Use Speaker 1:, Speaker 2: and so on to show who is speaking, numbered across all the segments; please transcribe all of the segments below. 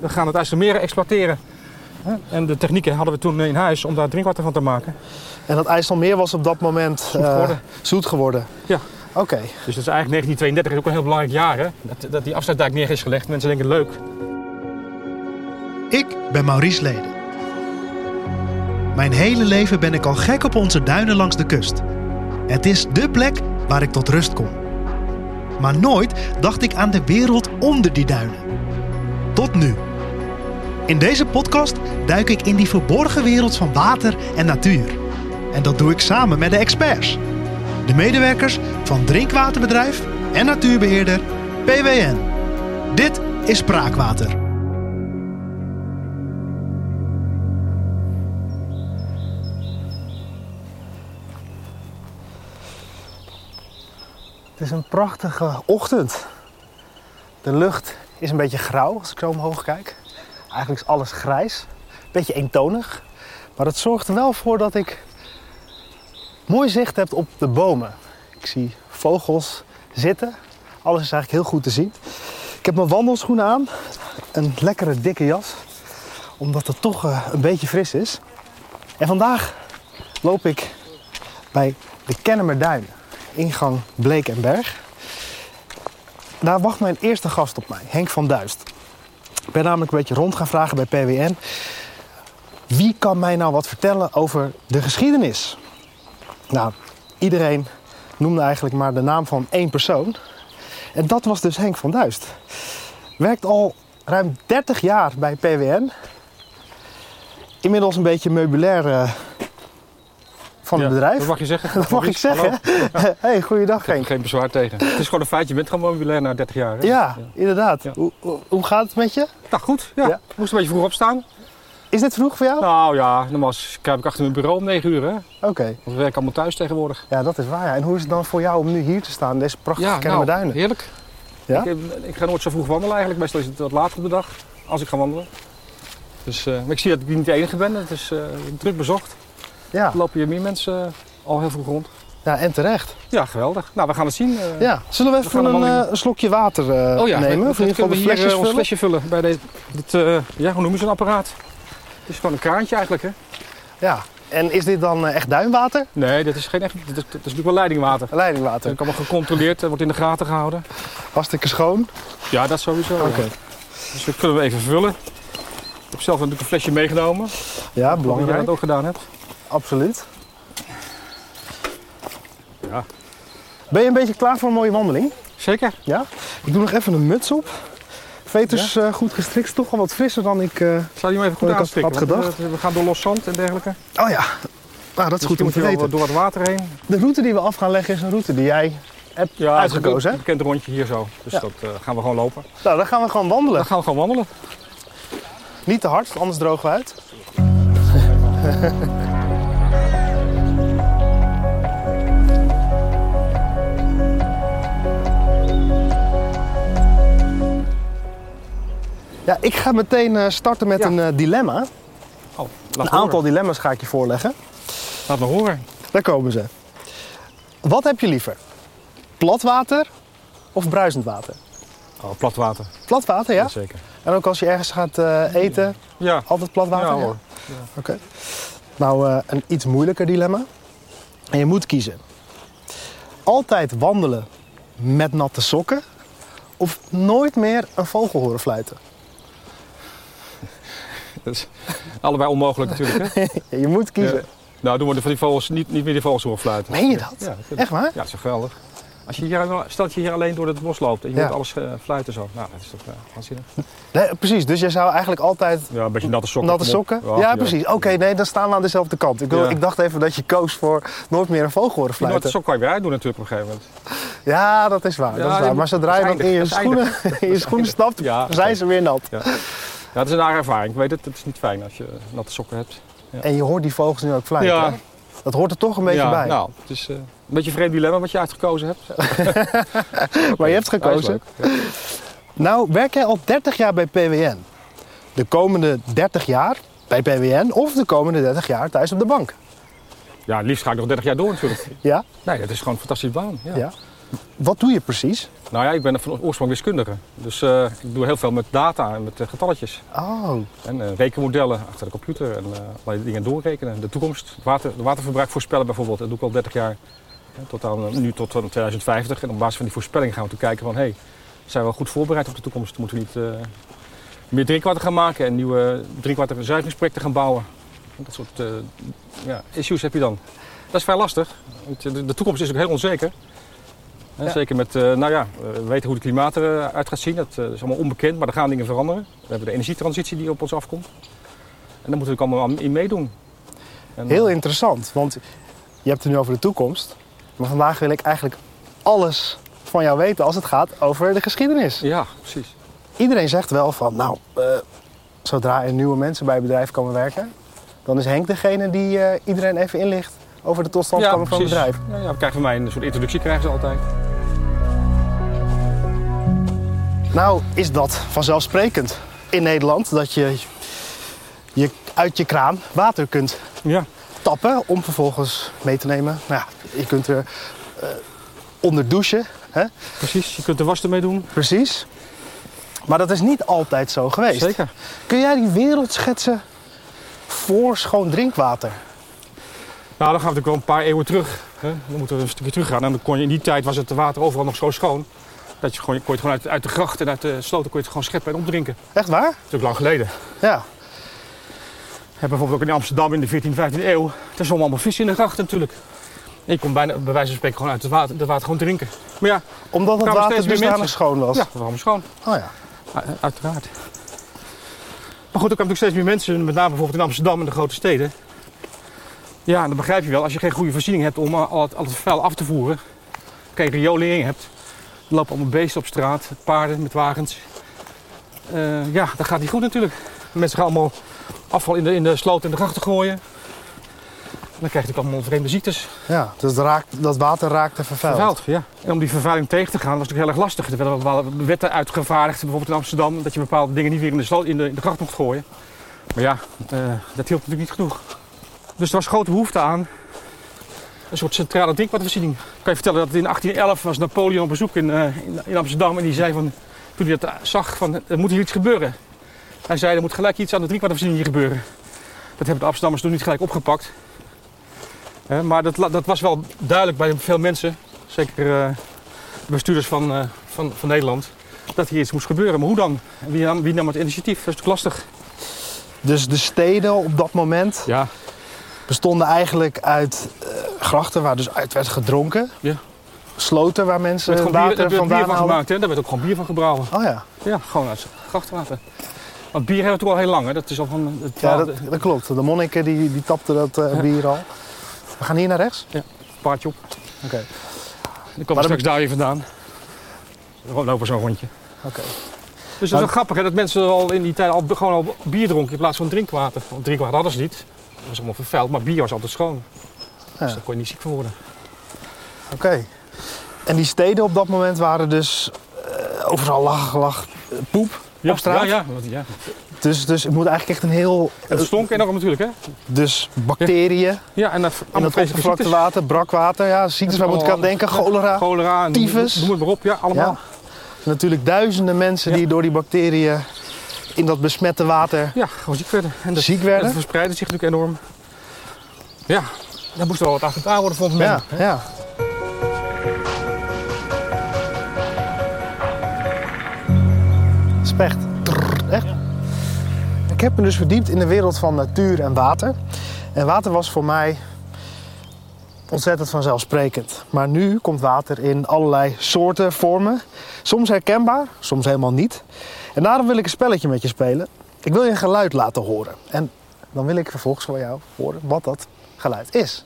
Speaker 1: We gaan het IJsselmeer exploiteren. En de technieken hadden we toen in huis om daar drinkwater van te maken.
Speaker 2: En dat IJsselmeer was op dat moment zoet
Speaker 1: geworden.
Speaker 2: Zoet geworden.
Speaker 1: Ja.
Speaker 2: Oké.
Speaker 1: Dus dat is eigenlijk 1932 is ook een heel belangrijk jaar. Hè? Dat, dat die afsluitdijk neer is gelegd. Mensen denken leuk.
Speaker 3: Ik ben Maurice Leden. Mijn hele leven ben ik al gek op onze duinen langs de kust. Het is dé plek waar ik tot rust kom. Maar nooit dacht ik aan de wereld onder die duinen. Tot nu. In deze podcast duik ik in die verborgen wereld van water en natuur. En dat doe ik samen met de experts. De medewerkers van drinkwaterbedrijf en natuurbeheerder PWN. Dit is Spraakwater.
Speaker 2: Het is een prachtige ochtend. De lucht is een beetje grauw als ik zo omhoog kijk. Eigenlijk is alles grijs. Beetje eentonig. Maar het zorgt er wel voor dat ik mooi zicht heb op de bomen. Ik zie vogels zitten. Alles is eigenlijk heel goed te zien. Ik heb mijn wandelschoenen aan. Een lekkere dikke jas. Omdat het toch eh, een beetje fris is. En vandaag loop ik bij de Kennemerduin. Ingang Bleek en Berg. Daar wacht mijn eerste gast op mij, Henk van Duist. Ik ben namelijk een beetje rond gaan vragen bij PWN. Wie kan mij nou wat vertellen over de geschiedenis? Nou, iedereen noemde eigenlijk maar de naam van één persoon. En dat was dus Henk van Duist. Werkt al ruim 30 jaar bij PWN. Inmiddels een beetje meubilair eh, van het
Speaker 1: Ja,
Speaker 2: bedrijf.
Speaker 1: Dat mag je zeggen.
Speaker 2: Dat mag ik
Speaker 1: Maurice,
Speaker 2: zeggen.
Speaker 1: hallo.
Speaker 2: hey, goeiedag
Speaker 1: Ik heb
Speaker 2: Henk.
Speaker 1: er geen bezwaar tegen. Het is gewoon een feit, je bent gewoon mobilair na 30 jaar. Hè?
Speaker 2: Ja, inderdaad.
Speaker 1: Ja.
Speaker 2: Hoe, hoe- hoe gaat het met je?
Speaker 1: Nou goed, ja.
Speaker 2: Ja.
Speaker 1: moest een beetje vroeg opstaan.
Speaker 2: Is dit vroeg voor jou?
Speaker 1: Nou ja, normaal kruip ik achter mijn bureau om 9 uur. Hè? Want
Speaker 2: Oké,
Speaker 1: we werken allemaal thuis tegenwoordig.
Speaker 2: ja, dat is waar. ja. En hoe is het dan voor jou om nu hier te staan, deze prachtige
Speaker 1: nou,
Speaker 2: Kennemerduinen?
Speaker 1: heerlijk.
Speaker 2: Ja?
Speaker 1: Ik, ik ga nooit zo vroeg wandelen eigenlijk. Meestal is het wat later op de dag, als ik ga wandelen. Dus, eh, maar ik zie dat ik niet de enige ben. Het is eh, druk bezocht.
Speaker 2: Ja.
Speaker 1: Er lopen hier meer mensen eh, al heel vroeg rond.
Speaker 2: ja, en terecht.
Speaker 1: Ja, geweldig. Nou, we gaan het zien. eh.
Speaker 2: Ja. Zullen we
Speaker 1: We
Speaker 2: even
Speaker 1: gaan
Speaker 2: een,
Speaker 1: een wandeling-
Speaker 2: eh, een slokje water eh,
Speaker 1: Oh ja,
Speaker 2: nemen? Of in ieder geval de
Speaker 1: kunnen we hier
Speaker 2: flesjes
Speaker 1: eh, ons
Speaker 2: vullen?
Speaker 1: flesje vullen bij deze. Dit, eh, ja, hoe noemen ze een apparaat? Het is gewoon een kraantje eigenlijk, hè?
Speaker 2: Ja. En is dit dan eh, echt duinwater?
Speaker 1: Nee, dit is geen echt. Dit is, dit is natuurlijk wel leidingwater. Het
Speaker 2: Leidingwater.
Speaker 1: wordt allemaal gecontroleerd en wordt in de gaten gehouden.
Speaker 2: Hartstikke schoon.
Speaker 1: Ja, dat sowieso. ja.
Speaker 2: Oké.
Speaker 1: Dus dat kunnen we even vullen. Ik heb zelf natuurlijk een flesje meegenomen.
Speaker 2: Ja,
Speaker 1: Omdat jij
Speaker 2: belangrijk.
Speaker 1: dat ook gedaan hebt.
Speaker 2: Absoluut.
Speaker 1: Ja.
Speaker 2: Ben je een beetje klaar voor een mooie wandeling?
Speaker 1: Zeker.
Speaker 2: Ja. Ik doe nog even een muts op. Veters eh, goed gestrikt, is toch wel wat frisser dan ik... eh,
Speaker 1: Ik Zou je hem even goed
Speaker 2: Ik had-
Speaker 1: aanstikken?
Speaker 2: had
Speaker 1: want,
Speaker 2: gedacht.
Speaker 1: eh, We gaan door los zand en dergelijke. Dat
Speaker 2: Oh ja, nou, dat is goed om te weten.
Speaker 1: Door het water heen.
Speaker 2: De route die we af gaan leggen is een route die jij hebt
Speaker 1: Ja, het is
Speaker 2: uitgekozen.
Speaker 1: een
Speaker 2: Hè?
Speaker 1: bekend rondje hier zo. Dus
Speaker 2: Ja.
Speaker 1: dat eh, gaan we gewoon lopen. Oh,
Speaker 2: Nou, dan gaan we gewoon
Speaker 1: Dan
Speaker 2: wandelen.
Speaker 1: gaan we gewoon wandelen.
Speaker 2: Niet te hard, anders drogen we uit. Ja, ik ga meteen eh, starten met
Speaker 1: Ja.
Speaker 2: een eh, dilemma.
Speaker 1: Oh, laat
Speaker 2: Een
Speaker 1: me
Speaker 2: aantal
Speaker 1: horen.
Speaker 2: dilemma's ga ik je voorleggen.
Speaker 1: Laat me horen.
Speaker 2: Daar komen ze. Wat heb je liever? Plat water of bruisend water?
Speaker 1: Oh, plat water.
Speaker 2: Plat water, ja?
Speaker 1: Zeker.
Speaker 2: En ook als je ergens gaat eh, eten,
Speaker 1: Ja.
Speaker 2: altijd plat water?
Speaker 1: Ja, hoor.
Speaker 2: Oké. Nou, eh, een iets moeilijker dilemma. En je moet kiezen. Altijd wandelen met natte sokken of nooit meer een vogel horen fluiten?
Speaker 1: Dat is allebei onmogelijk natuurlijk. Hè?
Speaker 2: Ja, je moet kiezen.
Speaker 1: Ja. Nou, doen we de van die vogels niet, niet meer de vogels horen fluiten.
Speaker 2: Meen je dat?
Speaker 1: Ja, dat vind ik-
Speaker 2: Echt waar?
Speaker 1: ja, dat is toch geweldig. Als je hier, stel dat je hier alleen door het bos loopt en je
Speaker 2: Ja.
Speaker 1: hoort alles eh, fluiten zo. Nou, dat is toch eh, waanzinnig.
Speaker 2: Nee, precies, dus jij zou eigenlijk altijd
Speaker 1: Ja, een beetje natte sokken.
Speaker 2: natte
Speaker 1: kom op.
Speaker 2: sokken? Ja, precies. Oké, nee, dan staan we aan dezelfde kant. Ik, wil,
Speaker 1: Ja.
Speaker 2: ik dacht even dat je koos voor nooit meer een vogel horen
Speaker 1: Die natte
Speaker 2: fluiten.
Speaker 1: sok kan je weer uitdoen natuurlijk op een gegeven moment.
Speaker 2: Ja, dat is waar.
Speaker 1: Ja,
Speaker 2: dat is
Speaker 1: die
Speaker 2: waar.
Speaker 1: moet-
Speaker 2: Maar zodra
Speaker 1: dat
Speaker 2: je
Speaker 1: is
Speaker 2: dan in je
Speaker 1: eindig, dat is
Speaker 2: schoenen, in je schoenen stapt,
Speaker 1: Ja, dat is
Speaker 2: zijn ze weer nat.
Speaker 1: Ja, dat is een rare ervaring. Ik weet het, het is niet fijn als je eh, natte sokken hebt.
Speaker 2: En je hoort die vogels nu ook fluiten.
Speaker 1: Ja.
Speaker 2: hè? Dat hoort er toch een beetje
Speaker 1: ja,
Speaker 2: bij.
Speaker 1: Nou, het is eh, een beetje een vreemd dilemma wat je uitgekozen hebt.
Speaker 2: maar je hebt
Speaker 1: Ja, is
Speaker 2: gekozen.
Speaker 1: leuk. Ja.
Speaker 2: Nou, werk jij al 30 jaar bij PWN? De komende 30 jaar bij PWN of de komende 30 jaar thuis op de bank?
Speaker 1: Ja, het liefst ga ik nog 30 jaar door natuurlijk.
Speaker 2: Ja?
Speaker 1: Nee, dat is gewoon een fantastische baan. Ja.
Speaker 2: Ja. Wat doe je precies?
Speaker 1: Nou ja, ik ben van oorsprong wiskundige. Dus eh, ik doe heel veel met data en met eh, getalletjes.
Speaker 2: Oh,
Speaker 1: En eh, rekenmodellen achter de computer en eh, allerlei dingen doorrekenen. De toekomst, het water, het waterverbruik voorspellen bijvoorbeeld. Dat doe ik al 30 jaar, hè, tot aan, eh, nu tot aan 2050. En op basis van die voorspelling gaan we toen kijken van... hé, hey, zijn we goed voorbereid op de toekomst? Moeten we niet eh, meer drinkwater gaan maken en nieuwe drinkwaterverzuivingsprojecten gaan bouwen? Dat soort eh, ja, issues heb je dan. Dat is vrij lastig. want De de toekomst is ook heel onzeker. Hè,
Speaker 2: Ja.
Speaker 1: Zeker met, eh, nou ja, we weten hoe het klimaat eruit gaat zien. Dat eh, is allemaal onbekend, maar er gaan dingen veranderen. We hebben de energietransitie die op ons afkomt. En daar moeten we ook allemaal aan- in meedoen. En,
Speaker 2: heel
Speaker 1: eh,
Speaker 2: interessant. Want je hebt het nu over de toekomst. Maar vandaag wil ik eigenlijk alles van jou weten als het gaat over de geschiedenis.
Speaker 1: Ja, precies.
Speaker 2: Iedereen zegt wel van, nou, eh, zodra er nieuwe mensen bij het bedrijf komen werken, dan is Henk degene die eh, iedereen even inlicht over de totstandkoming van het
Speaker 1: precies.
Speaker 2: bedrijf.
Speaker 1: Ja, ja, we krijgen van mij een soort introductie krijgen ze altijd.
Speaker 2: Nou, is dat vanzelfsprekend in Nederland dat je, je uit je kraan water kunt
Speaker 1: Ja.
Speaker 2: tappen om vervolgens mee te nemen. Nou ja, je kunt er eh, onder douchen, hè?
Speaker 1: Precies, je kunt de was ermee doen.
Speaker 2: precies. Maar dat is niet altijd zo geweest.
Speaker 1: Zeker.
Speaker 2: Kun jij die wereld schetsen voor schoon drinkwater?
Speaker 1: Nou, dan gaan we natuurlijk wel een paar eeuwen terug. Hè? Dan moeten we een stukje teruggaan. En dan kon je, in die tijd was het water overal nog zo schoon. Dat je gewoon, kon je het gewoon uit, uit de gracht en uit de sloten kon je het gewoon scheppen en opdrinken. Dat
Speaker 2: Echt waar?
Speaker 1: is natuurlijk lang geleden.
Speaker 2: Ja.
Speaker 1: En bijvoorbeeld ook in Amsterdam in de 14e, 15e eeuw. Daar zwommen allemaal vissen in de grachten natuurlijk. En je kon bijna, bij wijze van spreken, gewoon uit het water, het water gewoon drinken. Maar ja,
Speaker 2: Omdat het
Speaker 1: Kwamen
Speaker 2: water
Speaker 1: steeds meer
Speaker 2: dusdanig
Speaker 1: mensen.
Speaker 2: schoon was.
Speaker 1: ja waarom schoon?
Speaker 2: Oh ja.
Speaker 1: U- Ah, Uiteraard. Maar goed, er kwamen natuurlijk steeds meer mensen, met name bijvoorbeeld in Amsterdam en de grote steden. Ja, en dan begrijp je wel, als je geen goede voorziening hebt om eh, al het, al het vuil af te voeren, geen riolering hebt, er lopen allemaal beesten op straat, paarden met wagens. Eh, ja, dat gaat niet goed natuurlijk. Mensen gaan allemaal afval in de, in de sloot en de grachten gooien. En dan krijg je natuurlijk allemaal vreemde ziektes.
Speaker 2: ja. Dus het raakt, dat water raakte vervuild.
Speaker 1: Vervuild, ja. En om die vervuiling tegen te gaan was natuurlijk heel erg lastig. Er werden wel wetten uitgevaardigd, bijvoorbeeld in Amsterdam, dat je bepaalde dingen niet weer in de, slo- in de, in de gracht mocht gooien. Maar ja, eh, dat hielp natuurlijk niet genoeg. Dus er was grote behoefte aan een soort centrale drinkwatervoorziening. Ik kan je vertellen dat in 1811 was Napoleon op bezoek in, eh, in, in Amsterdam en die zei van, toen hij dat zag, van er moet hier iets gebeuren. Hij zei, er moet gelijk iets aan de drinkwatervoorziening hier gebeuren. Dat hebben de Amsterdammers toen niet gelijk opgepakt. Eh, maar dat, la- dat was wel duidelijk bij veel mensen zeker eh, de bestuurders van, eh, van, van Nederland, dat hier iets moest gebeuren. Maar hoe dan? En Wie nam, wie nam het initiatief? Dat is natuurlijk lastig.
Speaker 2: Dus de steden op dat moment
Speaker 1: Ja,
Speaker 2: bestonden eigenlijk uit eh, grachten waar dus uit werd gedronken.
Speaker 1: Ja.
Speaker 2: Sloten waar
Speaker 1: er werd
Speaker 2: mensen
Speaker 1: gewoon bier, er
Speaker 2: water
Speaker 1: werd bier
Speaker 2: vandaan
Speaker 1: van
Speaker 2: haalden.
Speaker 1: gemaakt. Hè? Daar werd ook gewoon bier van gebrouwen.
Speaker 2: Oh ja,
Speaker 1: Ja, gewoon uit grachtwater. Want bier hebben we toen al heel lang. Hè? Dat is al van het
Speaker 2: ja
Speaker 1: twaalfde
Speaker 2: dat, dat klopt. De monniken die, die tapten dat eh, bier al. We gaan hier naar rechts.
Speaker 1: paardje op.
Speaker 2: Oké.
Speaker 1: Dan komen
Speaker 2: dan-
Speaker 1: we straks daar weer vandaan. Dan lopen we zo'n rondje.
Speaker 2: Oké.
Speaker 1: Dus dat is wel grappig hè, dat mensen al in die tijd al, gewoon al bier dronken in plaats van drinkwater. Want drinkwater hadden ze niet. Dat was allemaal vervuild, maar bier was altijd schoon.
Speaker 2: Ja.
Speaker 1: Dus daar kon je niet ziek van worden.
Speaker 2: Oké. En die steden op dat moment waren dus eh, overal lag, lag eh, poep. Op straat?
Speaker 1: Ja, ja, want- ja.
Speaker 2: Dus, dus het moet eigenlijk echt een heel...
Speaker 1: Het
Speaker 2: eh,
Speaker 1: stonk enorm natuurlijk hè.
Speaker 2: dus bacteriën.
Speaker 1: Ja, en dat
Speaker 2: En dat oppervlakte water, brakwater, ja, ziektes waar moet ik aan denken, cholera.
Speaker 1: Cholera, en
Speaker 2: tyfus.
Speaker 1: Noem het maar op, ja, allemaal.
Speaker 2: Ja.
Speaker 1: Ja,
Speaker 2: Natuurlijk duizenden mensen
Speaker 1: Ja.
Speaker 2: die door die bacteriën in dat besmette water
Speaker 1: gewoon ziek werden. En dat,
Speaker 2: ziek
Speaker 1: en dat
Speaker 2: werden.
Speaker 1: verspreidde zich natuurlijk enorm. Ja, daar moest wel wat aan gedaan worden volgens mij.
Speaker 2: Ja, ja. Specht. Trrr, Echt? Ik heb me dus verdiept in de wereld van natuur en water. En water was voor mij ontzettend vanzelfsprekend. Maar nu komt water in allerlei soorten, vormen. Soms herkenbaar, soms helemaal niet. En daarom wil ik een spelletje met je spelen. Ik wil je een geluid laten horen. En dan wil ik vervolgens van jou horen wat dat geluid is.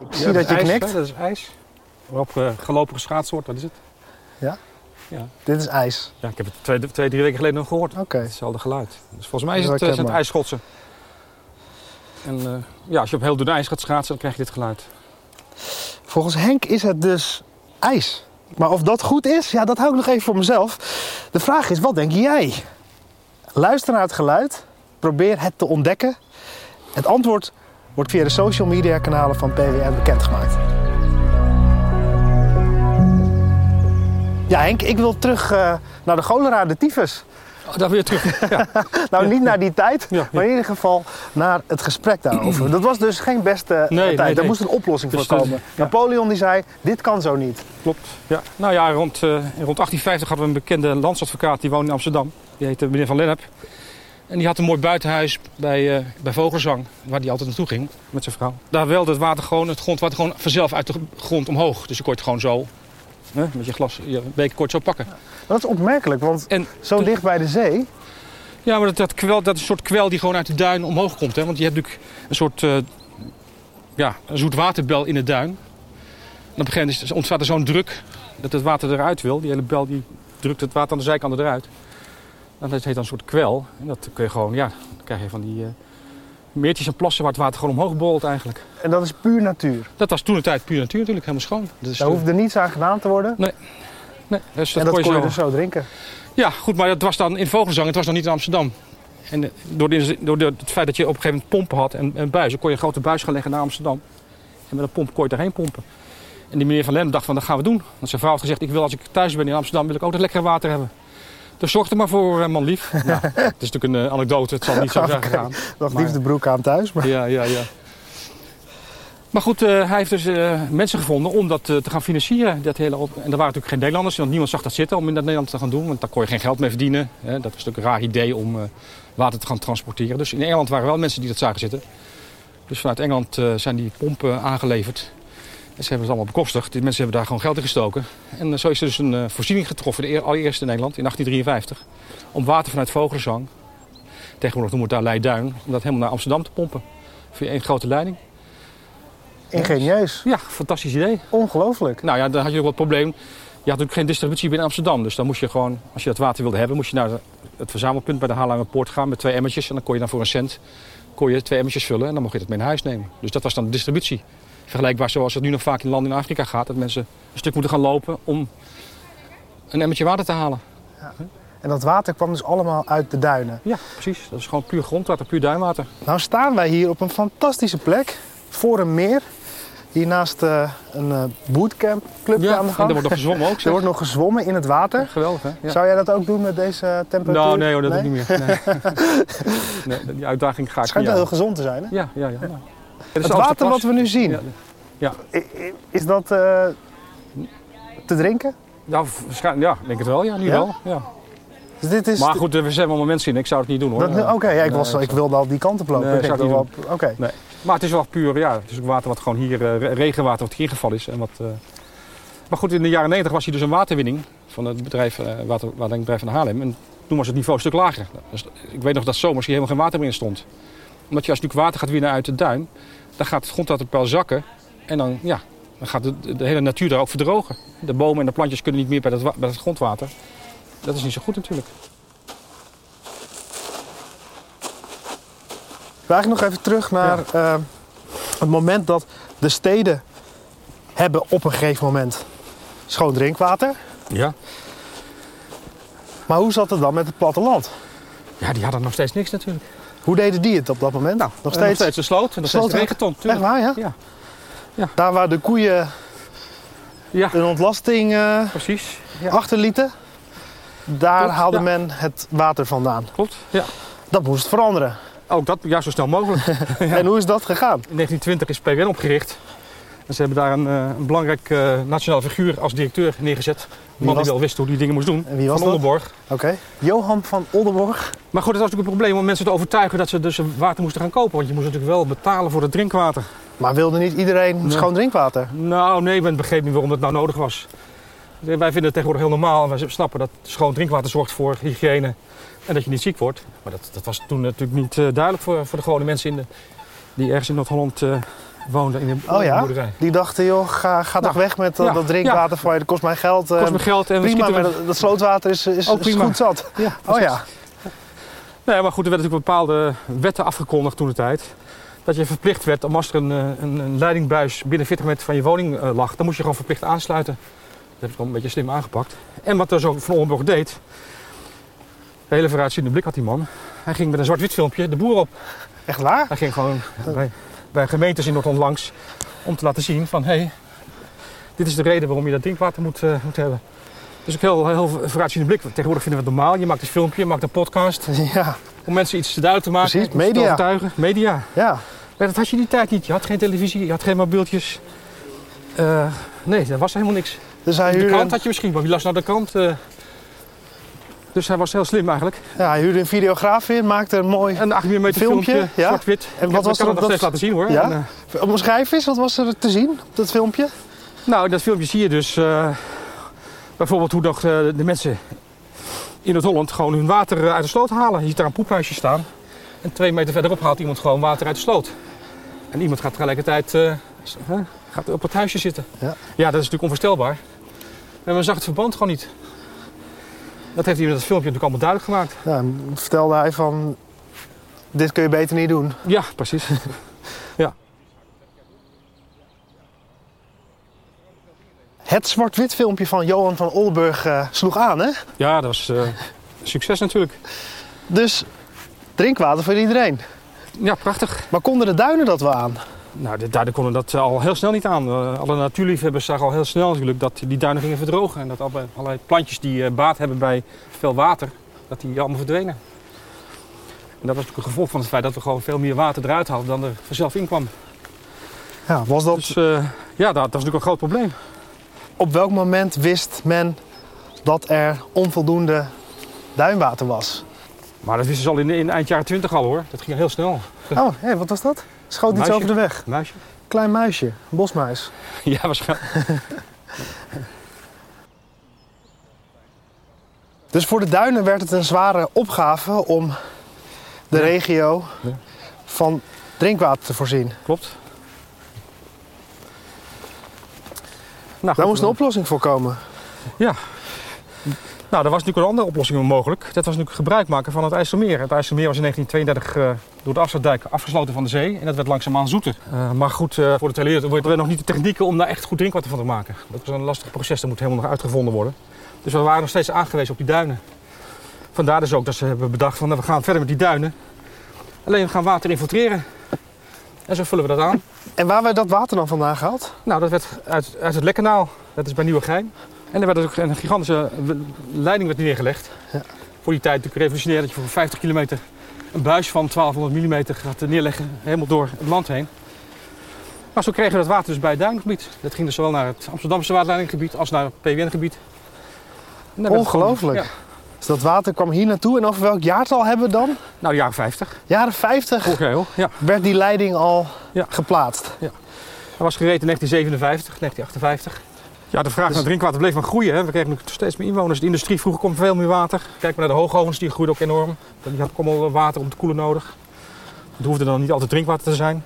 Speaker 2: Ik zie dat je
Speaker 1: ijs,
Speaker 2: knikt.
Speaker 1: hè, Dat is ijs. Waarop eh, gelopen geschaatst wordt, wat is het?
Speaker 2: Dit is ijs.
Speaker 1: Ja, ik heb het twee, twee drie weken geleden nog gehoord.
Speaker 2: Oké.
Speaker 1: Hetzelfde geluid. Dus volgens mij is
Speaker 2: Ja,
Speaker 1: het, eh, zijn het
Speaker 2: herkenbaar.
Speaker 1: ijsschotsen. En eh, ja, als je op heel dun ijs gaat schaatsen, dan krijg je dit geluid.
Speaker 2: Volgens Henk is het dus ijs. Maar of dat goed is, ja, dat hou ik nog even voor mezelf. De vraag is, wat denk jij? Luister naar het geluid, probeer het te ontdekken. Het antwoord wordt via de social media kanalen van PWN bekendgemaakt. Ja, Henk, ik wil terug eh, naar de cholera, de tyfus.
Speaker 1: Oh, daar weer terug.
Speaker 2: Nou, niet naar die tijd,
Speaker 1: Ja, ja.
Speaker 2: maar in ieder geval naar het gesprek daarover. Dat was dus geen beste eh,
Speaker 1: Nee, nee,
Speaker 2: tijd. Daar
Speaker 1: nee.
Speaker 2: moest een oplossing
Speaker 1: Dus
Speaker 2: voor
Speaker 1: dat-
Speaker 2: komen.
Speaker 1: ja.
Speaker 2: Napoleon die zei, dit kan zo niet.
Speaker 1: Klopt. Ja. Nou ja, rond, eh, rond 1850 hadden we een bekende landsadvocaat die woonde in Amsterdam. Die heette meneer Van Lennep. En die had een mooi buitenhuis bij, eh, bij Vogelzang, waar die altijd naartoe ging met zijn vrouw. Daar welde het water gewoon, het grondwater gewoon vanzelf uit de grond omhoog. Dus je kon het gewoon zo, hè, met je glas, je beker kort zo pakken.
Speaker 2: Maar dat is opmerkelijk, want
Speaker 1: En
Speaker 2: zo
Speaker 1: toen-
Speaker 2: dicht bij de zee...
Speaker 1: Ja, maar dat, dat, kwel, dat is een soort kwel die gewoon uit de duin omhoog komt. Hè? Want je hebt natuurlijk een soort eh ja, een zoetwaterbel in de duin. En op een gegeven moment is- ontstaat er zo'n druk dat het water eruit wil. Die hele bel die drukt het water aan de zijkanten eruit. En dat heet dan een soort kwel. En dat kun je gewoon, ja, dan krijg je van die eh, meertjes en plassen waar het water gewoon omhoog borrelt eigenlijk.
Speaker 2: En dat is puur natuur.
Speaker 1: Dat was toen de tijd puur natuur natuurlijk, helemaal schoon. Dus,
Speaker 2: Daar hoefde niets aan gedaan te worden.
Speaker 1: nee, dus
Speaker 2: en dat kon je
Speaker 1: zo-
Speaker 2: dus zo drinken.
Speaker 1: Ja, goed, maar dat was dan in Vogelzang, het was nog niet in Amsterdam. En eh, door, de- door de- het feit dat je op een gegeven moment pompen had en, en buizen, kon je een grote buis gaan leggen naar Amsterdam. En met een pomp kon je daarheen pompen. En die meneer van Lem dacht van, dat gaan we doen. Want zijn vrouw had gezegd, ik wil als ik thuis ben in Amsterdam, wil ik ook dat lekkere water hebben. Dus zorg er maar voor, eh, man lief. Nou, het is natuurlijk een eh, anekdote, het zal niet zo zijn
Speaker 2: Oké.
Speaker 1: gegaan.
Speaker 2: Dacht
Speaker 1: Maar-
Speaker 2: liefde broek aan thuis. Maar
Speaker 1: Ja, ja, ja. Maar goed, eh, hij heeft dus eh, mensen gevonden om dat eh, te gaan financieren. Dat hele op- en er waren natuurlijk geen Nederlanders, want niemand zag dat zitten om in dat Nederland te gaan doen. Want daar kon je geen geld mee verdienen. Hè. Dat was natuurlijk een raar idee om eh, water te gaan transporteren. Dus in Engeland waren wel mensen die dat zagen zitten. Dus vanuit Engeland eh, zijn die pompen aangeleverd. En ze hebben het allemaal bekostigd. Die mensen hebben daar gewoon geld in gestoken. En eh, zo is er dus een eh, voorziening getroffen, de eer- allereerste in Nederland, in 1853. Om water vanuit Vogelenzang, tegenwoordig noemen we het daar Leiduin, om dat helemaal naar Amsterdam te pompen. Via één grote leiding.
Speaker 2: ingenieus.
Speaker 1: Ja, fantastisch idee.
Speaker 2: Ongelooflijk.
Speaker 1: Nou ja, dan had je ook wel het probleem. Je had natuurlijk geen distributie binnen Amsterdam. Dus dan moest je gewoon, als je dat water wilde hebben, moest je naar het verzamelpunt bij de Haarlemmerpoort gaan met twee emmertjes. En dan kon je dan voor een cent kon je twee emmertjes vullen en dan mocht je dat mee naar huis nemen. Dus dat was dan de distributie. Vergelijkbaar zoals het nu nog vaak in landen in Afrika gaat. Dat mensen een stuk moeten gaan lopen om een emmertje water te halen.
Speaker 2: En dat water kwam dus allemaal uit de duinen.
Speaker 1: Ja, precies. Dat is gewoon puur grondwater, puur duinwater.
Speaker 2: Nou staan wij hier op een fantastische plek. Voor een meer. Hiernaast eh, een eh bootcamp clubje aan de
Speaker 1: en er
Speaker 2: gang.
Speaker 1: wordt nog gezwommen ook.
Speaker 2: Er
Speaker 1: zeg.
Speaker 2: wordt nog gezwommen in het water.
Speaker 1: Geweldig, hè? Ja.
Speaker 2: Zou jij dat ook doen met deze temperatuur?
Speaker 1: Nou, nee hoor, dat doe ik niet meer. Nee. Nee, die uitdaging ga
Speaker 2: Het
Speaker 1: ik niet
Speaker 2: schijnt wel
Speaker 1: aan.
Speaker 2: heel gezond te zijn. Hè?
Speaker 1: Ja, ja, ja. Nou.
Speaker 2: Het water wat we nu zien,
Speaker 1: Ja.
Speaker 2: i- i- is dat eh, te drinken?
Speaker 1: Ja, waarschijnlijk, Nou, ja, ik denk het wel. Ja, nu
Speaker 2: Ja?
Speaker 1: wel. Ja.
Speaker 2: Dus dit is
Speaker 1: Maar goed, er zijn allemaal mensen in. Ik zou het niet doen hoor.
Speaker 2: dat nu- Oké, ja, ik,
Speaker 1: Nee,
Speaker 2: was,
Speaker 1: ik
Speaker 2: ik wilde al die kant op lopen.
Speaker 1: Nee,
Speaker 2: Ik
Speaker 1: zou ik
Speaker 2: dacht
Speaker 1: niet
Speaker 2: wel- Oké.
Speaker 1: Maar het is wel puur, ja, het is ook water wat gewoon hier, eh, re- regenwater wat hier gevallen is. En wat, eh, Maar goed, in de jaren 90 was hier dus een waterwinning van het bedrijf, eh water, waterwinningbedrijf van Haarlem. En toen was het niveau een stuk lager. Dus ik weet nog dat zomers hier helemaal geen water meer in stond. Omdat je als natuurlijk water gaat winnen uit de duin, dan gaat het grondwaterpeil zakken. En dan, ja, dan gaat de, de hele natuur daar ook verdrogen. De bomen en de plantjes kunnen niet meer bij dat, wa- bij dat grondwater. Dat is niet zo goed natuurlijk.
Speaker 2: We eigenlijk nog even terug naar eh, het moment dat de steden hebben op een gegeven moment schoon drinkwater.
Speaker 1: Ja.
Speaker 2: Maar hoe zat het dan met het platteland?
Speaker 1: Ja, die hadden nog steeds niks natuurlijk.
Speaker 2: Hoe deden die het op dat moment? Nou, nog
Speaker 1: Eh,
Speaker 2: steeds.
Speaker 1: de sloot. en Nog
Speaker 2: Sloot
Speaker 1: steeds de
Speaker 2: ook.
Speaker 1: regenton.
Speaker 2: Echt
Speaker 1: tuurlijk.
Speaker 2: waar, ja?
Speaker 1: Ja.
Speaker 2: Daar waar de koeien
Speaker 1: Ja,
Speaker 2: een ontlasting eh,
Speaker 1: precies. Ja.
Speaker 2: achterlieten, daar
Speaker 1: Klopt,
Speaker 2: haalde
Speaker 1: ja.
Speaker 2: men het water vandaan.
Speaker 1: Klopt. Ja.
Speaker 2: Dat moest veranderen.
Speaker 1: Ook dat ja, zo snel mogelijk.
Speaker 2: En hoe is dat gegaan?
Speaker 1: In 1920 is PWN opgericht. En ze hebben daar een, eh, een belangrijk eh nationaal figuur als directeur neergezet. Een man
Speaker 2: was-
Speaker 1: die wel wist hoe die dingen moest doen.
Speaker 2: En wie was
Speaker 1: van
Speaker 2: dat?
Speaker 1: Onderborg.
Speaker 2: Oké. Johan van Oldenborg.
Speaker 1: Maar goed, het was natuurlijk een probleem om mensen te overtuigen dat ze dus water moesten gaan kopen. Want je moest natuurlijk wel betalen voor het drinkwater.
Speaker 2: Maar wilde niet iedereen schoon drinkwater?
Speaker 1: Nou, nee, men begreep niet waarom dat nou nodig was. Wij vinden het tegenwoordig heel normaal en wij snappen dat schoon drinkwater zorgt voor hygiëne en dat je niet ziek wordt. Maar dat, dat was toen natuurlijk niet eh, duidelijk voor, voor de gewone mensen in de, die ergens in Noord-Holland eh, woonden in een
Speaker 2: Oh ja?
Speaker 1: boerderij.
Speaker 2: Die dachten, joh, ga, ga toch
Speaker 1: Nou,
Speaker 2: weg met dat,
Speaker 1: ja,
Speaker 2: dat drinkwater van je, dat kost mij geld. eh,
Speaker 1: Kost me geld en we
Speaker 2: prima,
Speaker 1: schieten
Speaker 2: maar
Speaker 1: we...
Speaker 2: dat, dat slootwater is, is,
Speaker 1: Oh,
Speaker 2: is
Speaker 1: prima.
Speaker 2: goed zat.
Speaker 1: Ja,
Speaker 2: Oh
Speaker 1: precies.
Speaker 2: ja,
Speaker 1: Nee, maar goed, er werden natuurlijk bepaalde wetten afgekondigd toen de tijd. Dat je verplicht werd, om als er een, eh, een, een leidingbuis binnen 40 meter van je woning eh, lag, dan moest je gewoon verplicht aansluiten. heb ik wel een beetje slim aangepakt. En wat dus ook Van Oldenburg deed... De hele vooruitziende blik had die man. Hij ging met een zwart-wit filmpje de boer op.
Speaker 2: Echt waar?
Speaker 1: Hij ging gewoon bij, bij gemeentes in Noord-Holland langs om te laten zien van... hé, hey, dit is de reden waarom je dat drinkwater moet, eh, moet hebben. Dus ook heel, heel vooruitziende blik. Tegenwoordig vinden we het normaal. Je maakt een filmpje, je maakt een podcast
Speaker 2: Ja,
Speaker 1: om mensen iets te duidelijk te maken.
Speaker 2: Precies,
Speaker 1: om ze te
Speaker 2: media.
Speaker 1: overtuigen. Media.
Speaker 2: ja.
Speaker 1: Maar dat had je in die tijd niet. Je had geen televisie, je had geen mobieltjes. Eh, nee, daar was helemaal niks.
Speaker 2: Dus hij
Speaker 1: De
Speaker 2: huurde,
Speaker 1: krant
Speaker 2: een,
Speaker 1: had je misschien, maar wie las nou de krant? eh? dus hij was heel slim eigenlijk.
Speaker 2: ja, hij huurde een videograaf in, maakte een mooi...
Speaker 1: Een 8 mm filmpje,
Speaker 2: Filmpje, ja.
Speaker 1: zwart-wit.
Speaker 2: En wat
Speaker 1: Ja,
Speaker 2: was
Speaker 1: ik kan
Speaker 2: er
Speaker 1: het nog
Speaker 2: op dat-
Speaker 1: steeds laten zien hoor.
Speaker 2: Ja?
Speaker 1: En, eh,
Speaker 2: Omschrijf eens, wat was er te zien op dat filmpje?
Speaker 1: Nou, in dat filmpje zie je dus eh, bijvoorbeeld hoe nog, eh, de mensen in het Holland gewoon hun water eh, uit de sloot halen. Je ziet daar een poephuisje staan. En twee meter verderop haalt iemand gewoon water uit de sloot. En iemand gaat tegelijkertijd eh, s- hè, gaat op het huisje zitten.
Speaker 2: Ja.
Speaker 1: dat is natuurlijk onvoorstelbaar. En men zag het verband gewoon niet. Dat heeft hij in dat filmpje natuurlijk allemaal duidelijk gemaakt.
Speaker 2: Ja, en vertelde hij van, dit kun je beter niet doen.
Speaker 1: Ja, precies.
Speaker 2: Het zwart-wit filmpje van Johan van Olburg eh, sloeg aan, hè?
Speaker 1: Ja, dat is eh, succes natuurlijk.
Speaker 2: Dus drinkwater voor iedereen.
Speaker 1: Ja, prachtig.
Speaker 2: Maar konden de duinen dat wel aan?
Speaker 1: Nou, de duinen konden dat eh, al heel snel niet aan. Eh, Alle natuurliefhebbers zagen al heel snel natuurlijk dat die duinen gingen verdrogen. En dat alle- allerlei plantjes die eh, baat hebben bij veel water, dat die allemaal verdwenen. En dat was natuurlijk een gevolg van het feit dat we gewoon veel meer water eruit haalden dan er vanzelf in kwam.
Speaker 2: Ja, was dat...
Speaker 1: Dus eh, ja, dat, dat is natuurlijk een groot probleem.
Speaker 2: Op welk moment wist men dat er onvoldoende duinwater was?
Speaker 1: Maar dat wisten ze al in, in eind jaren 20 al hoor. Dat ging heel snel.
Speaker 2: Oh, hé, wat was dat? Schoot iets
Speaker 1: Muisje.
Speaker 2: over de weg.
Speaker 1: Muisje?
Speaker 2: Klein muisje, een bosmuis.
Speaker 1: Ja, waarschijnlijk.
Speaker 2: Dus voor de duinen werd het een zware opgave om de
Speaker 1: Ja.
Speaker 2: regio
Speaker 1: Ja.
Speaker 2: van drinkwater te voorzien.
Speaker 1: Klopt. Nou,
Speaker 2: Daar
Speaker 1: goed,
Speaker 2: moest een
Speaker 1: dan-
Speaker 2: oplossing voor komen.
Speaker 1: Nou, er was natuurlijk een andere oplossing mogelijk. Dat was natuurlijk gebruik maken van het IJsselmeer. Het IJsselmeer was in 1932 eh, door de afsluitdijk afgesloten van de zee. En dat werd langzaamaan zoeter. Eh, maar goed, eh, voor de teleurheid hadden we nog niet de technieken om daar echt goed drinkwater van te maken. Dat was een lastig proces, dat moet helemaal nog uitgevonden worden. Dus we waren nog steeds aangewezen op die duinen. Vandaar dus ook dat ze hebben bedacht van, nou, we gaan verder met die duinen. Alleen we gaan water infiltreren. En zo vullen we dat aan.
Speaker 2: En waar werd dat water dan vandaan gehaald?
Speaker 1: Nou, dat werd uit, uit het Lekkanaal. Dat is bij Nieuwegein. En er werd ook een gigantische w- leiding werd neergelegd.
Speaker 2: Ja.
Speaker 1: Voor die tijd natuurlijk revolutionair dat je voor 50 kilometer een buis van 1200 mm gaat neerleggen. Helemaal door het land heen. Maar zo kregen we dat water dus bij het duingebied. Dat ging dus zowel naar het Amsterdamse waterleidinggebied als naar het PWN-gebied. En daar werd het gewoon-
Speaker 2: Ongelooflijk.
Speaker 1: Ja.
Speaker 2: Dus dat water kwam hier naartoe. En over welk jaartal hebben we dan?
Speaker 1: Nou, de jaren 50.
Speaker 2: Jaren 50
Speaker 1: Oké, hoor. Ja.
Speaker 2: werd die leiding al
Speaker 1: Ja.
Speaker 2: geplaatst.
Speaker 1: Hij was gereden in 1957, 1958. Ja, de vraag naar drinkwater bleef maar groeien. Hè. We kregen natuurlijk steeds meer inwoners. De industrie vroeger kwam veel meer water. Kijk maar naar de hoogovens, die groeiden ook enorm. Die hadden ook allemaal water om te koelen nodig. Het hoefde dan niet altijd drinkwater te zijn.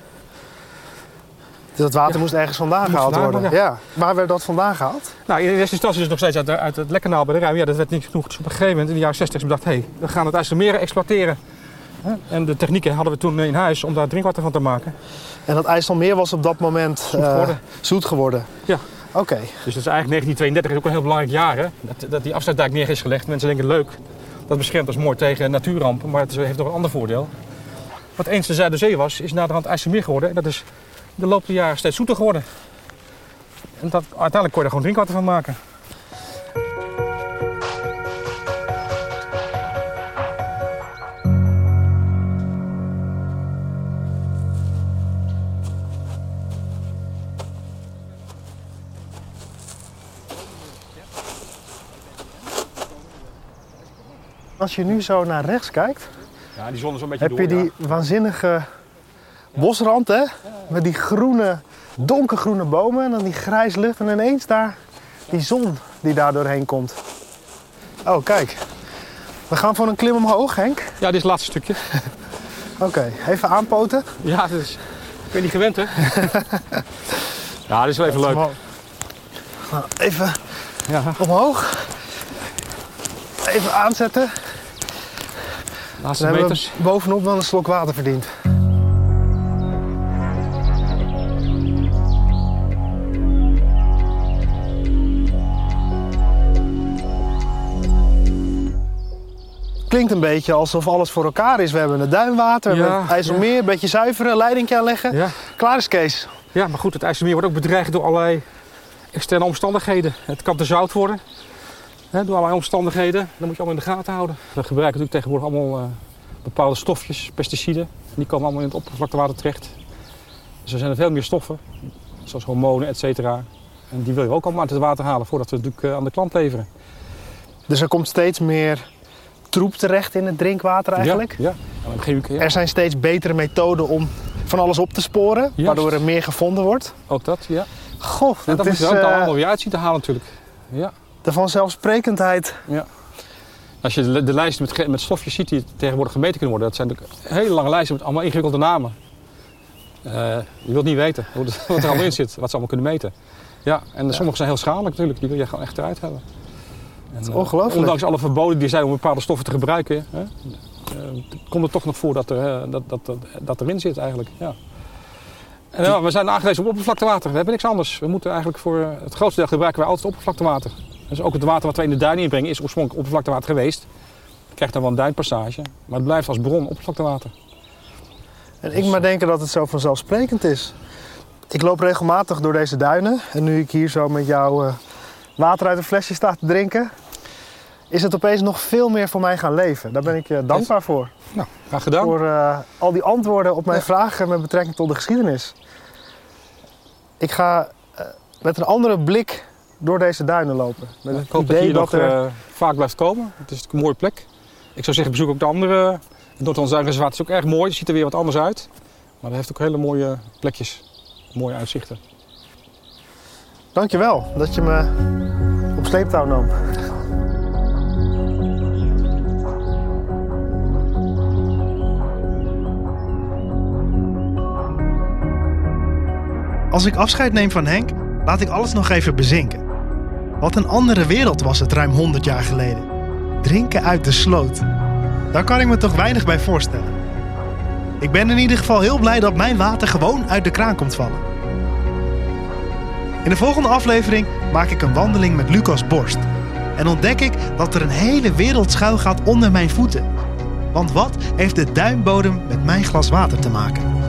Speaker 2: Dus dat water
Speaker 1: Ja.
Speaker 2: moest ergens vandaan
Speaker 1: Moest
Speaker 2: gehaald
Speaker 1: vandaan
Speaker 2: worden.
Speaker 1: worden,
Speaker 2: Ja. Waar werd dat vandaan gehaald?
Speaker 1: Nou, in eerste instantie dus nog steeds uit, de- uit het Lekkanaal bij de Ruim. Ja, dat werd niet genoeg. Dus op een gegeven moment in de jaren 60 is bedacht... hé, hey, we gaan het IJsselmeer exploiteren. Hè? En de technieken hadden we toen in huis om daar drinkwater van te maken.
Speaker 2: En dat IJsselmeer was op dat moment zoet
Speaker 1: geworden.
Speaker 2: Zoet geworden.
Speaker 1: Ja.
Speaker 2: Oké.
Speaker 1: Dus dat is eigenlijk 1932 is ook een heel belangrijk jaar. Hè? Dat, dat die afsluitdijk neer is gelegd. Mensen denken leuk. Dat beschermt ons mooi tegen natuurrampen. Maar het is- heeft nog een ander voordeel. Wat eens de Zuiderzee was, is naderhand IJsselmeer geworden. En dat is in de loop der jaren steeds zoeter geworden. En dat, uiteindelijk kon je er gewoon drinkwater van maken.
Speaker 2: Als je nu zo naar rechts kijkt,
Speaker 1: Ja, die zon is een beetje
Speaker 2: heb je die waanzinnige bosrand, hè? Met die groene, donkergroene bomen en dan die grijs lucht. En ineens daar die zon die daar doorheen komt. Oh, kijk. We gaan voor een klim omhoog, Henk.
Speaker 1: Ja, dit is het laatste stukje.
Speaker 2: Oké, even aanpoten.
Speaker 1: Ja, dat is... Ik ben niet gewend, hè? ja, dit is wel even leuk.
Speaker 2: Nou, even
Speaker 1: Ja,
Speaker 2: omhoog. Even aanzetten.
Speaker 1: laatste
Speaker 2: Dan hebben
Speaker 1: meters.
Speaker 2: we bovenop wel een slok water verdiend. klinkt een beetje alsof alles voor elkaar is. We hebben het duinwater, we
Speaker 1: Ja,
Speaker 2: hebben het IJsselmeer, een beetje zuiveren, leidingje aanleggen.
Speaker 1: Ja.
Speaker 2: Klaar is Kees.
Speaker 1: ja, maar goed, het IJsselmeer wordt ook bedreigd door allerlei externe omstandigheden. Het kan te zout worden, hè, door allerlei omstandigheden. Dat moet je allemaal in de gaten houden. We gebruiken natuurlijk tegenwoordig allemaal eh, bepaalde stofjes, pesticiden. Die komen allemaal in het oppervlaktewater terecht. Dus er zijn er veel meer stoffen, zoals hormonen, et cetera. En die wil je ook allemaal uit het water halen voordat we het natuurlijk eh, aan de klant leveren.
Speaker 2: Dus er komt steeds meer troep terecht in het drinkwater eigenlijk.
Speaker 1: Ja, ja. En op een gegeven moment, ja,
Speaker 2: Er zijn steeds betere methoden om van alles op te sporen,
Speaker 1: Juist.
Speaker 2: waardoor er meer gevonden wordt.
Speaker 1: ook dat, ja.
Speaker 2: Goh,
Speaker 1: En
Speaker 2: dat
Speaker 1: dat moet
Speaker 2: is
Speaker 1: je er ook dan
Speaker 2: eh,
Speaker 1: allemaal weer uit zien te halen natuurlijk. Ja.
Speaker 2: de vanzelfsprekendheid.
Speaker 1: Als je de, de lijsten met, ge- met stofjes ziet die tegenwoordig gemeten kunnen worden, dat zijn natuurlijk hele lange lijsten met allemaal ingewikkelde namen. Eh, je wilt niet weten hoe dat- wat er allemaal in zit, wat ze allemaal kunnen meten. Ja, en sommige zijn heel schadelijk natuurlijk, die wil je gewoon echt eruit hebben. En, eh,
Speaker 2: ongelooflijk.
Speaker 1: ondanks alle verboden die er zijn om bepaalde stoffen te gebruiken, hè, eh, komt het toch nog voor dat, er, eh, dat, dat, dat, dat erin zit eigenlijk. Ja. En, ja, we zijn aangewezen op oppervlaktewater, we hebben niks anders. We moeten eigenlijk voor eh, het grootste deel gebruiken wij altijd oppervlaktewater. Dus ook het water wat wij in de duin inbrengen is oorspronkelijk oppervlaktewater geweest. Je krijgt dan wel een duinpassage, maar het blijft als bron oppervlaktewater.
Speaker 2: En ik maar denken dat het zo vanzelfsprekend is. Ik loop regelmatig door deze duinen. En nu ik hier zo met jou eh, water uit een flesje sta te drinken... is het opeens nog veel meer voor mij gaan leven. Daar ben ik je dankbaar voor.
Speaker 1: Nou, graag gedaan.
Speaker 2: Voor eh, al die antwoorden op mijn
Speaker 1: Ja.
Speaker 2: vragen met betrekking tot de geschiedenis. Ik ga eh, met een andere blik door deze duinen lopen. Met
Speaker 1: ik
Speaker 2: het
Speaker 1: hoop dat je
Speaker 2: idee
Speaker 1: hier
Speaker 2: dat,
Speaker 1: nog
Speaker 2: er...
Speaker 1: eh, vaak blijft komen. Het is natuurlijk een mooie plek. Ik zou zeggen, bezoek ook de andere. Het Noord-Holland-Zuid-Reservaat is ook erg mooi. Het ziet er weer wat anders uit. Maar het heeft ook hele mooie plekjes. Mooie uitzichten.
Speaker 2: Dankjewel dat je me op sleeptouw nam.
Speaker 3: Als ik afscheid neem van Henk, laat ik alles nog even bezinken. Wat een andere wereld was het ruim 100 jaar geleden. Drinken uit de sloot. Daar kan ik me toch weinig bij voorstellen. Ik ben in ieder geval heel blij dat mijn water gewoon uit de kraan komt vallen. In de volgende aflevering maak ik een wandeling met Lucas Borst. En ontdek ik dat er een hele wereld schuil gaat onder mijn voeten. Want wat heeft de duimbodem met mijn glas water te maken?